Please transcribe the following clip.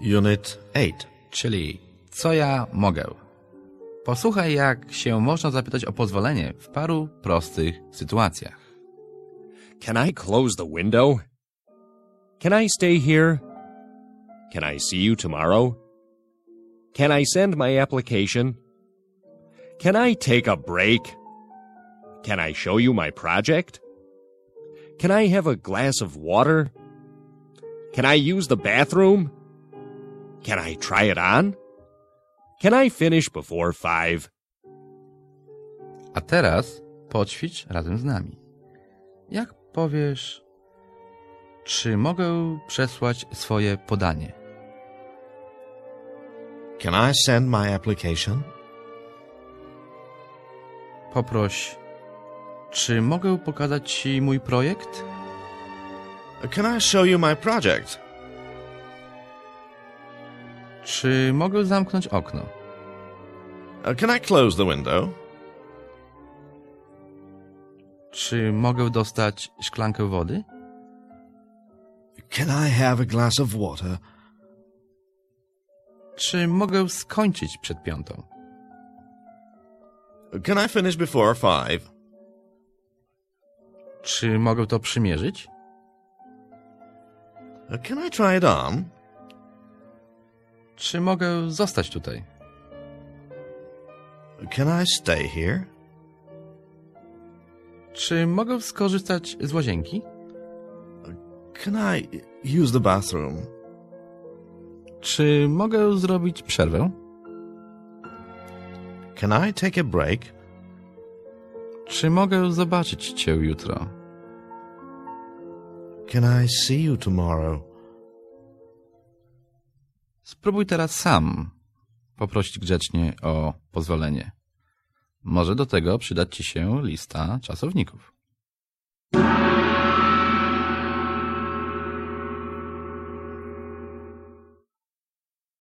Unit 8. czyli co ja mogę. Posłuchaj, jak się można zapytać o pozwolenie w paru prostych sytuacjach. Can I close the window? Can I stay here? Can I see you tomorrow? Can I send my application? Can I take a break? Can I show you my project? Can I have a glass of water? Can I use the bathroom? Can I try it on? Can I finish before five? A teraz poćwicz razem z nami. Jak powiesz, czy mogę przesłać swoje podanie? Can I send my application? Poproś, czy mogę pokazać Ci mój projekt? Can I show you my project? Czy mogę zamknąć okno? Uh, Can I close the window? Czy mogę dostać szklankę wody? Can I have a glass of water? Czy mogę skończyć przed piątą? Can I finish before five? Czy mogę to przymierzyć? Uh, Can I try it on? Czy mogę zostać tutaj? Can I stay here? Czy mogę skorzystać z łazienki? Can I use the bathroom? Czy mogę zrobić przerwę? Can I take a break? Czy mogę zobaczyć Cię jutro? Can I see you tomorrow? Spróbuj teraz sam poprosić grzecznie o pozwolenie. Może do tego przydać Ci się lista czasowników.